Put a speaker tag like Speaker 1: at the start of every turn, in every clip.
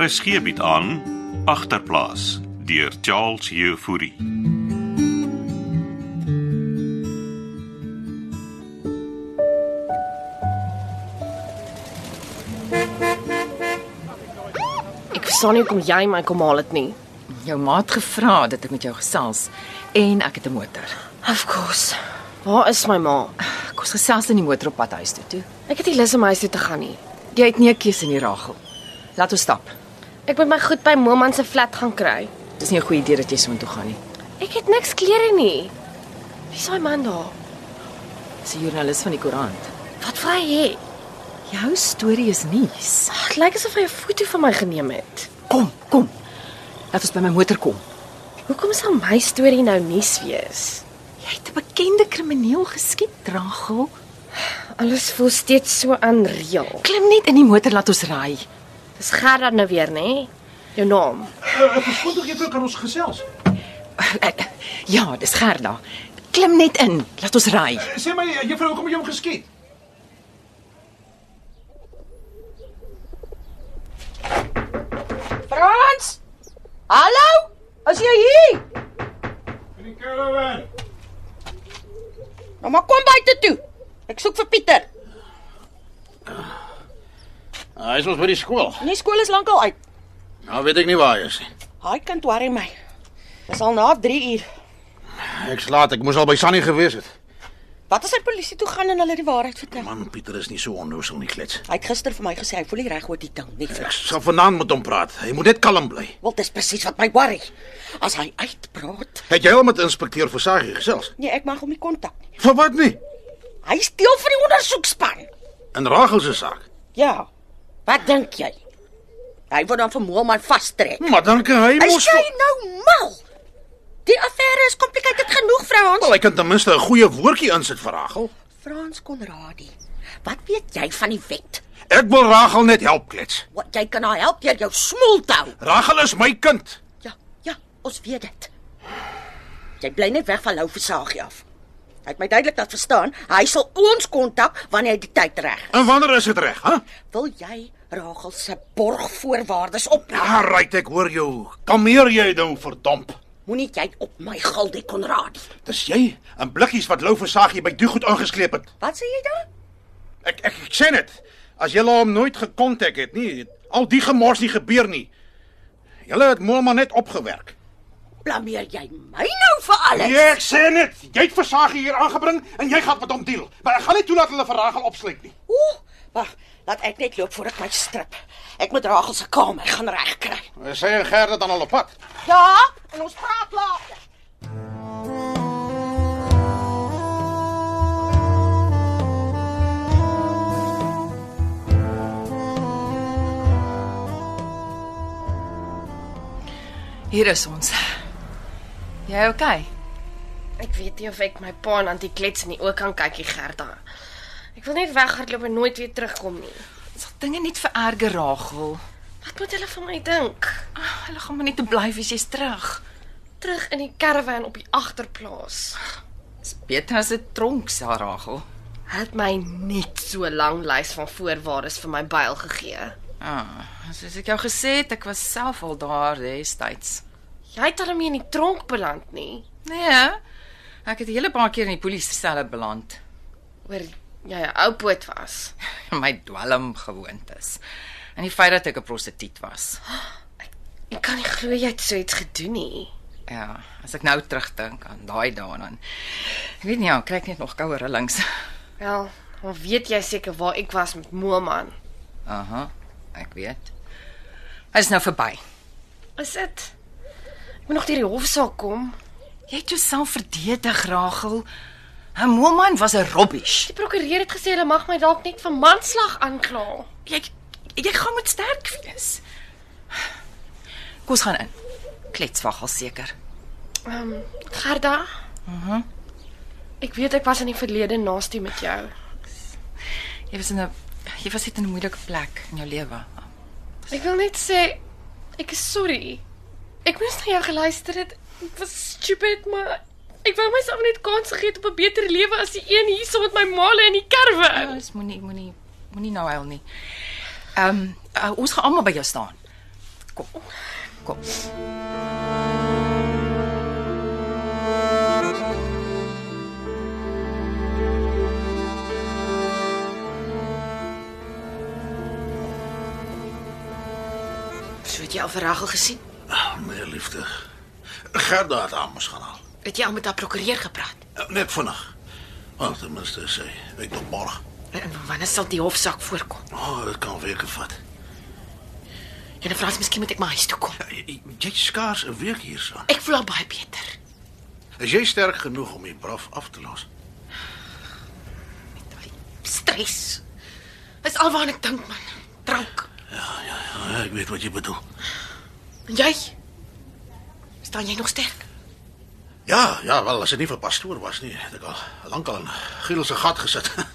Speaker 1: RSG bied Er aan agterplaas deur Charles Jefouri.
Speaker 2: Ek verstaan nie hoekom jy my kom haal dit nie.
Speaker 3: Jou maat gevra dat ek met jou gesels en ek het 'n motor.
Speaker 2: Of course. Waar is my ma?
Speaker 3: Ek ons gesels in die motor op pad huis toe toe.
Speaker 2: Ek het nie lus om huis toe te gaan nie.
Speaker 3: Jy het nie 'n keuse in die Ragel. Laat ons stap.
Speaker 2: Ek moet my goed by Moman se flat gaan kry.
Speaker 3: Dis nie 'n goeie idee dat jy soontoe gaan nie.
Speaker 2: Ek het niks klere nie. Wie's daai man daar?
Speaker 3: Dis 'n joernalis van die koerant.
Speaker 2: Wat vra hy hê?
Speaker 3: Jou storie is nuus.
Speaker 2: Dit lyk asof hy 'n foto van my geneem het.
Speaker 3: Kom, kom. Laat ons by my motor kom.
Speaker 2: Hoekom sal my storie nou nuus wees?
Speaker 3: Jy het 'n bekende krimineel geskiet, Ragel.
Speaker 2: Alles voel steeds so aanreël.
Speaker 3: Klim net in die motor laat ons ry.
Speaker 2: Dis Gerard nou weer, nê? Jou naam.
Speaker 4: Kom tog juffrou kan ons gesels.
Speaker 3: Ek- Ja, dis Gerda. Klim net in, laat ons ry.
Speaker 4: Sê my juffrou, hoekom het jy hom geskiet?
Speaker 3: Frans! Hallo? As jy hier?
Speaker 4: In die caravan.
Speaker 5: Nou maar kom buite toe. Ek soek vir Pieter.
Speaker 6: Ah, Hy is ons by die skool.
Speaker 5: Nee, skool is lankal uit.
Speaker 6: Nou weet ek nie waar hy is nie.
Speaker 5: Haai kind worry my. Dis al na 3 uur.
Speaker 6: Ek slaat, ek moes al by Sunny gewees het.
Speaker 5: Wat as hy polisie toe gaan en hulle die waarheid vertel?
Speaker 6: Man, Pieter is nie so onnoosel nie, klets.
Speaker 5: Hy het gister vir my gesê hy voel nie reg oor die ding nie.
Speaker 6: Ek sal vanaand met hom praat. Hy moet net kalm bly.
Speaker 5: Wel, dis presies wat my worry. As hy uitpraat.
Speaker 6: Het jy al met inspekteur Versaghi gesels?
Speaker 5: Nee, ek mag hom nie kontak nie.
Speaker 6: Vir wat nie?
Speaker 5: Hy steel vir die ondersoekspan.
Speaker 6: In Ragel se saak.
Speaker 5: Ja. Wat dink jy? Hy word dan vermoor man vastrek.
Speaker 6: Maar dan kan hy
Speaker 5: Hy
Speaker 6: mos
Speaker 5: sê nou mal. Die affære is complicated genoeg, Frans.
Speaker 6: Wel, hy kan ten minste 'n goeie woordjie insit vir Ragel.
Speaker 5: Frans Konradi, wat weet jy van die wet?
Speaker 6: Ek wil Ragel net help, klets.
Speaker 5: Wat jy kan haar help deur jou smoel te hou.
Speaker 6: Ragel is my kind.
Speaker 5: Ja, ja, ons weet dit. Jy bly net weg van Lou Versaagie af. Hy het my duidelik laat verstaan, hy sal ons kontak wanneer hy die tyd reg.
Speaker 6: En wanneer is dit reg, hè?
Speaker 5: Wil jy Rachel se borgvoorwaardes opneem?
Speaker 6: Ja, right, ek hoor jou. Kalmeer jy nou, verdomp.
Speaker 5: Ah, Moenie jy op my gilde Konradi.
Speaker 6: Dis jy en blikkies wat Lou Versaghi by Doegoed aangeskleep het.
Speaker 5: Wat sê jy dan?
Speaker 6: Ek ek, ek sê net, as julle hom nooit gekontak het nie, het al die gemors nie gebeur nie. Julle het Moelman net opgewerk.
Speaker 5: Blameer jy my nou vir alles?
Speaker 6: Nee, ek sê net, jy het versage hier aangebring en jy gaan met hom deel. Maar ek gaan nie toelaat hulle vir Ragel opsluit nie.
Speaker 5: Ooh, wag, laat ek net loop voor ek my strip. Ek moet Rachel se kamer gaan regkry.
Speaker 6: Sy en Gerda dan al op pad.
Speaker 5: Ja, en ons praat later.
Speaker 3: Hier is ons. Jy okay?
Speaker 2: Ek weet nie of ek my pa en antie klets nie ook kan kykie Gerda. Ek wil net weghardloop en nooit weer terugkom nie.
Speaker 3: Sal dinge net vererger, Ragel.
Speaker 2: Wat moet hulle van my dink?
Speaker 3: Ah, Hulle gaan maar net te bly as jy's terug.
Speaker 2: terug in die karavan op die agterplaas.
Speaker 3: Dis beter as 'n tronk, Sarah Ragel.
Speaker 2: Hy het my net so lank lys van voorwaardes vir my byl gegee.
Speaker 3: Ah, soos ek jou gesê het, ek was self al daar destyds.
Speaker 2: Jy het hom nie in die tronk beland nie.
Speaker 3: Nee. Ek het 'n hele paar keer in die polisie selle beland.
Speaker 2: Oor jy 'n ou poot was.
Speaker 3: My dwelm gewoontes. En die feit dat ek 'n prostituut was.
Speaker 2: Ek kan nie glo jy het so iets gedoen nie.
Speaker 3: Ja, as ek nou terugdink aan daai dae dan. Ek weet nie, ja, kry ek net nog koue rillings.
Speaker 2: Wel, dan weet jy seker waar ek was met Moelman.
Speaker 3: Aha, ek weet. Hy is nou verby.
Speaker 2: Is dit? Ek moet nog deur die hofsaak kom.
Speaker 3: Jy het jouself verdedig, Ragel. 'n Moelman was 'n rubbish.
Speaker 2: Die prokureur het gesê hulle mag my dalk net vir manslag aankla.
Speaker 3: Jy jy gaan moet sterk wees. Kom ons gaan in. Klets wag al seker.
Speaker 2: Ehm, um, Gerda? Mhm. Ek weet ek was in die verlede naastie met jou.
Speaker 3: Jy was in 'n jy was net in 'n moeilike plek in jou lewe.
Speaker 2: Ek wil net sê ek is sorry. Ek moes na jou geluister het. Ek was stupid, maar ek wou myself net kans gegee het op 'n beter lewe as die een hierso met my maale in die
Speaker 3: Ja,
Speaker 2: karwe.
Speaker 3: eh, dis moenie moenie moenie nou huil nie. Ehm um, uh, ons gaan almal by jou staan. Kom. Kom.
Speaker 7: So het jy al vir Ragel gesien?
Speaker 8: My liefde. Gerda het amper gaan haal.
Speaker 7: Het jy al met haar prokureur gepraat?
Speaker 8: Net vinnig. Want ten minste sê ek tot môre.
Speaker 7: En wanneer sal die hofsaak voorkom?
Speaker 8: Oh, dit kan weer gevat.
Speaker 7: En dan vra sy miskien moet ek maar huis toe kom.
Speaker 8: Jy- Jy skaars 'n week hierson.
Speaker 7: Ek voel al baie beter.
Speaker 8: Is jy sterk genoeg om die braaf af te los?
Speaker 7: Daai stres. Is alwaar ek dink man. Drank.
Speaker 8: Ja, ek weet wat jy bedoel.
Speaker 7: En jy? Staan jy nog sterk?
Speaker 8: Ja, ja, wel as dit nie vir pastoor was nie, het ek al lankal in Giel se gat gesit.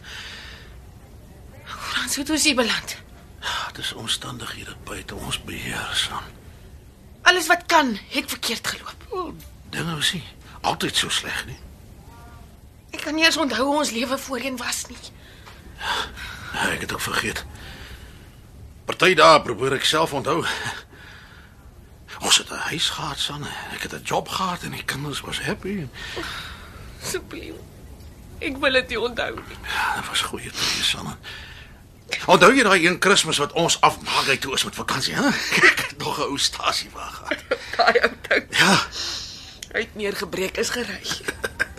Speaker 7: Frans, hoe het ons hier beland?
Speaker 8: Dit is omstandighede buite ons beheer, son.
Speaker 7: Alles wat kan, het verkeerd geloop.
Speaker 8: Dinge was nie altyd so sleg nie.
Speaker 7: Ek kan nie eens onthou hoe ons lewe voorheen was nie.
Speaker 8: Ah, Ek het ook vergeet. Party dae probeer ek self onthou. Ons het 'n huis gehad, son. Ek het 'n job gehad en die kinders was happy.
Speaker 2: Asseblief. Ek wil dit nie onthou nie.
Speaker 8: Ja, dit was goeie tye, son. Onthou jy daai een Kersfees wat ons afmaak uit toe is met vakansie, hè? Ek het nog 'n ou stasie wag gehad.
Speaker 7: Daai ou ding
Speaker 8: Ja.
Speaker 7: uit neergebreek is gery.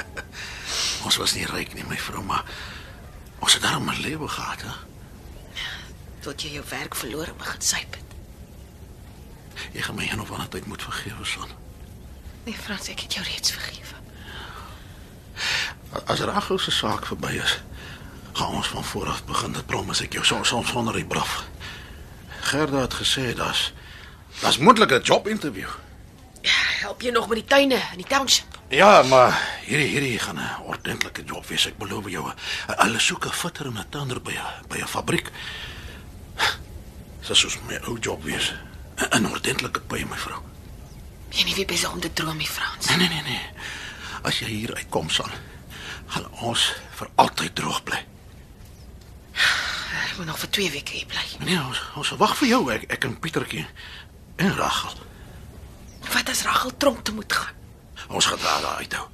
Speaker 8: Ons was nie ryk nie, my vrou, maar ons het daarom 'n lewe gehad, hè.
Speaker 7: Tot jy jou werk verloor en begin syp het.
Speaker 8: Jy gaan my een of ander tyd moet vergewe, son.
Speaker 7: Nee, Frans, ek het jou reeds vergewe.
Speaker 8: As Rachel se saak verby is, gaan ons van voor af begin. Dit promise ek jou, soms soms sonder die braaf. Gerda het gesê dat's dat's moontlik 'n job interview.
Speaker 7: Help jy nog met die tuine in die township?
Speaker 8: Ja, maar hierdie hierdie gaan 'n ordentlike job wees, ek beloof jou. Hulle soek 'n fitter en 'n tander by 'n by 'n fabriek. Dis soos my ou job wees. 'n- 'n Ordentlike by my vrou.
Speaker 7: Jy nie wie besig om te droom, nie, Frans.
Speaker 8: Nee, nee, nee, nee. As jy hier uitkom, son, gaan ons vir altyd droog bly.
Speaker 7: Ek moet nog vir 2 weke hier bly.
Speaker 8: Nee, ons ons sal wag vir jou, ek ek en Pietertjie en Rachel.
Speaker 7: Wat as Ragel tronk toe moet gaan?
Speaker 8: Ons gaan daar daar uithou.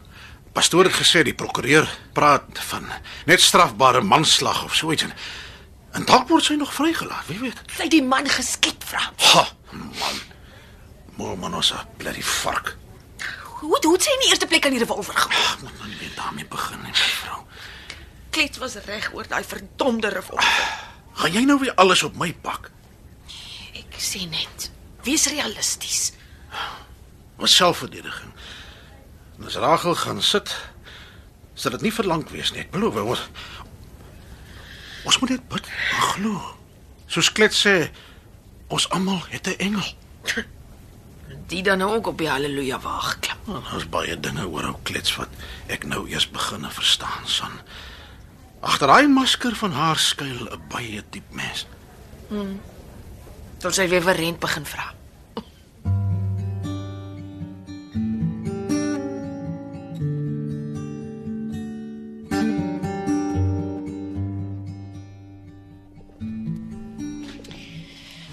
Speaker 8: Pastoor het gesê die prokureur praat van net strafbare manslag of so iets en en dalk word sy nog vrygelaat, wie weet.
Speaker 7: Sy het die man geskiet, Frans.
Speaker 8: Ha, man. Mormonosa, bloody fuck.
Speaker 7: Hoe hoe het sy in die eerste plek aan die revolver gemaak?
Speaker 8: Ek moet nou nie weer daarmee begin nie, my vrou.
Speaker 7: Klets was reg oor daai verdomde revolver.
Speaker 8: Gaan jy nou weer alles op my pak?
Speaker 7: Ek sê net, wees realisties.
Speaker 8: Was selfverdediging. En as Rachel gaan sit, sal dit nie verlang wees nie. Ek beloof ons ons moet net bid en glo. Soos klets sê, ons almal het 'n engel.
Speaker 7: Die dan nou ook op die haleluja waag klim.
Speaker 8: En ons Nou, baie dinge oor ou klets wat ek nou eers begin te verstaan, son. Agter daai masker van haar skuil 'n baie diep mens.
Speaker 3: Hmm.
Speaker 7: Tot sy weer vir rent begin vra.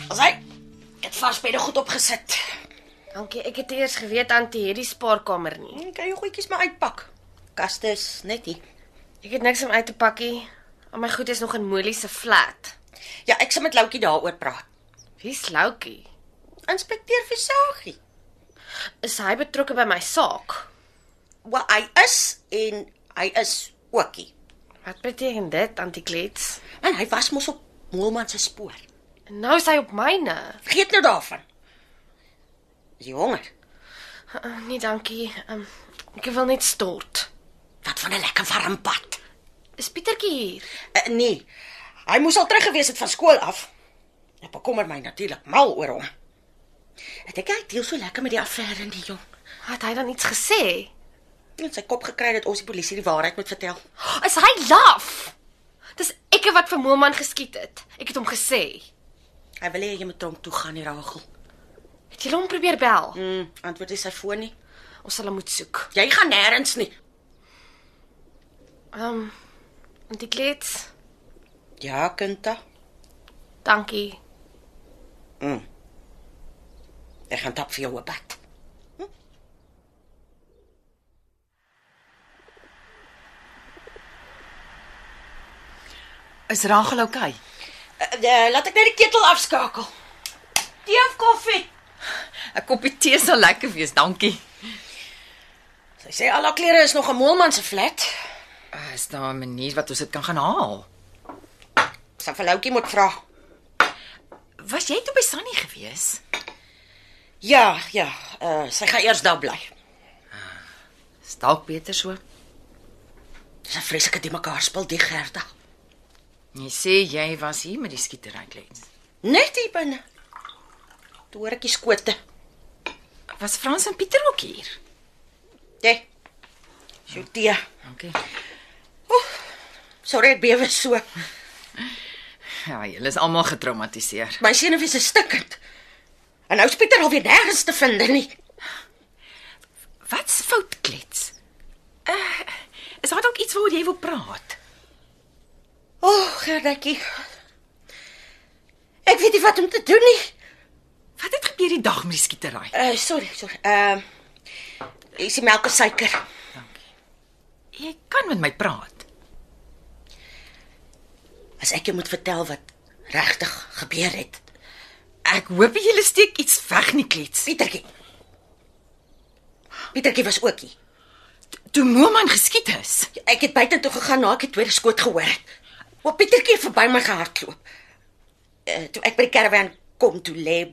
Speaker 5: As hy het vasbede goed opgesit.
Speaker 2: Dankie, ek het eers geweet Antie het die spaarkamer nie.
Speaker 5: Jy kan jou goedjies maar uitpak. Kaste is net hier.
Speaker 2: Ek het niks om uit te pakkie. Al my goed is nog in Molie se flat.
Speaker 5: Ja, ek sal met Loukie daaroor praat.
Speaker 2: Wie's Loukie?
Speaker 5: Inspekteur Visagie.
Speaker 2: Is hy betrokke by my saak?
Speaker 5: Wel, hy is en hy is ookie.
Speaker 2: Wat beteken dit, Antie Klets?
Speaker 5: En hy was mos op Moelman se spoor.
Speaker 2: En nou is hy op myne.
Speaker 5: Vergeet nou daarvan. Is jy honger?
Speaker 2: Uh, nee, dankie. Um, ek wil net stort.
Speaker 5: Wat van 'n lekker warm bad?
Speaker 2: Is Pietertjie hier?
Speaker 5: Uh, nee. Hy moes al terug gewees het van skool af. Ja, Ek bekommer my natuurlik mal oor hom. Het ek kyk deel so lekker met die affære in die jong.
Speaker 2: Het hy dan iets gesê?
Speaker 5: In sy kop gekry dat ons die polisie die waarheid moet vertel.
Speaker 2: Oh, Is hy laf? Dis ekke wat vir Moelman geskiet het. Ek het hom gesê.
Speaker 5: Hy wil hê jy moet tronk toe gaan, die Ragel.
Speaker 2: Het jy hom probeer bel?
Speaker 5: Mm, antwoord is sy foon nie.
Speaker 2: Ons sal hom moet soek.
Speaker 5: Jy gaan nêrens nie.
Speaker 2: Ehm um, Antie Klets,
Speaker 5: Ja, Kinta.
Speaker 2: dankie.
Speaker 5: Mm. Ek gaan tap vir jou 'n bad.
Speaker 3: Is Rachel oukei? Okay?
Speaker 5: Uh, uh, laat ek net die ketel afskakel. Tee of koffie?
Speaker 3: 'n Koppie tee sal lekker wees, dankie.
Speaker 5: Sy sê al haar klere is nog 'n moelman se flat.
Speaker 3: Ah, Is daar 'n manier wat ons dit kan gaan haal?
Speaker 5: Sy vir Loukie moet vra.
Speaker 3: Was jy toe by Sunny gewees?
Speaker 5: Ja, ja, uh, sy gaan eers daar bly.
Speaker 3: Is dalk beter so.
Speaker 5: Dis 'n vreeslike die mekaar spil die Gerda.
Speaker 3: Jy sê jy was hier met die skietery klets.
Speaker 5: Net hier binne. Toe hoor ek die skote.
Speaker 3: Was Frans en Pieter ook hier?
Speaker 5: Jy. Jou tee.
Speaker 3: Dankie.
Speaker 5: Sorry ek bewe so.
Speaker 3: Ja, julle is almal getraumatiseer.
Speaker 5: My senuwees is stikkend. En nou is Pieter alweer nêrens te vind nie.
Speaker 3: Wat's fout klets? Uh, is daar dalk iets waaroor jy wil praat?
Speaker 5: O, oh, Gerdatjie. Ek weet nie wat om te doen nie.
Speaker 3: Wat het gebeur die dag met die skietery?
Speaker 5: Uh, sorry, sorry. Ehm uh, Is die melk en suiker?
Speaker 3: Jy kan met my praat.
Speaker 5: As ek jou moet vertel wat regtig gebeur het.
Speaker 3: Ek hoop julle steek iets weg nie klets.
Speaker 5: Pietertjie. Pietertjie was ook hier.
Speaker 3: Toe Moman geskiet is.
Speaker 5: Ek het buite toe gegaan na ek die tweede skoot gehoor het. Op Pietertjie het verby my gehardloop. Uh, toe ek by die karavaan kom toe lê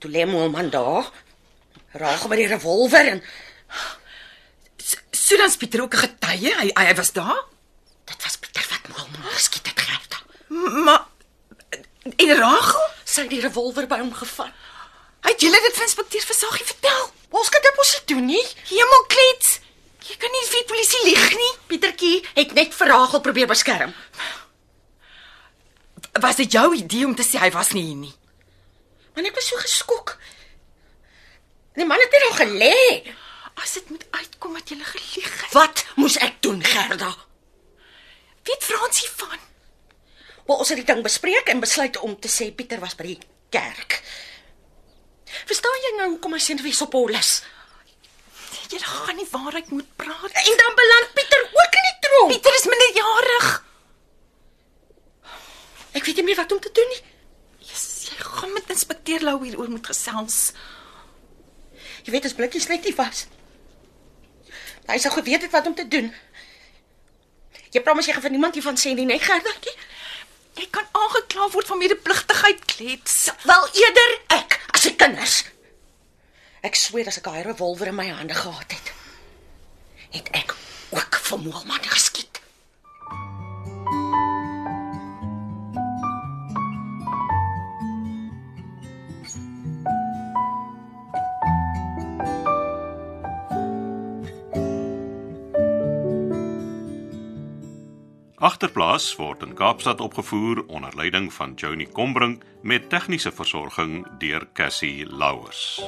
Speaker 5: toe lê my man daar. Raag met die revolver en
Speaker 3: So- So dan is Pieter ook 'n getuie. Hy hy hy was daar.
Speaker 5: dit was Pieter wat my hom geskiet het Gerda.
Speaker 3: M- Maar en Rachel?
Speaker 5: Sy het die revolver by hom gevat.
Speaker 3: Het julle dit vir inspekteur Versaggie vertel?
Speaker 5: Ons kan dit mos nie doen nie.
Speaker 3: Hemel klets. Jy kan nie vir die polisie lieg nie.
Speaker 5: Pietertjie het net vir Ragel probeer beskerm.
Speaker 3: Was dit jou idee om te sê hy was nie hier nie?
Speaker 5: Want ek was so geskok. Die man het net nog gelê.
Speaker 3: As dit moet uitkom dat jy gelieg het.
Speaker 5: Wat moes ek doen, Gerda?
Speaker 3: Weet Fransie van?
Speaker 5: Maar ons het die ding bespreek en besluit om te sê Pieter was by die kerk. Verstaan jy nou hoekom hy senuwees op hol is?
Speaker 3: Jy gaan nie waarheid moet praat.
Speaker 5: En dan beland Pieter ook in die tronk.
Speaker 3: Pieter is minderjarig.
Speaker 5: Ek weet nie meer wat om te doen nie.
Speaker 3: Jesus, jy gaan met inspekteur Lou hieroor moet gesels.
Speaker 5: Jy weet as blikkies net nie was. Hy sou geweet het wat om te doen. Jy promise jy gaan vir niemand hiervan sê nie, nee, né, Gerdatjie?
Speaker 3: Jy kan aangekla word van medepligtigheid klets.
Speaker 5: Wel eerder ek as die kinders. Ek sweer as ek daai revolver in my hande gehad het, het ek ook vir Moelman geskiet.
Speaker 1: Agterplaas word in Kaapstad opgevoer onder leiding van Johnny Combrink met tegniese versorging deur Cassie Louws.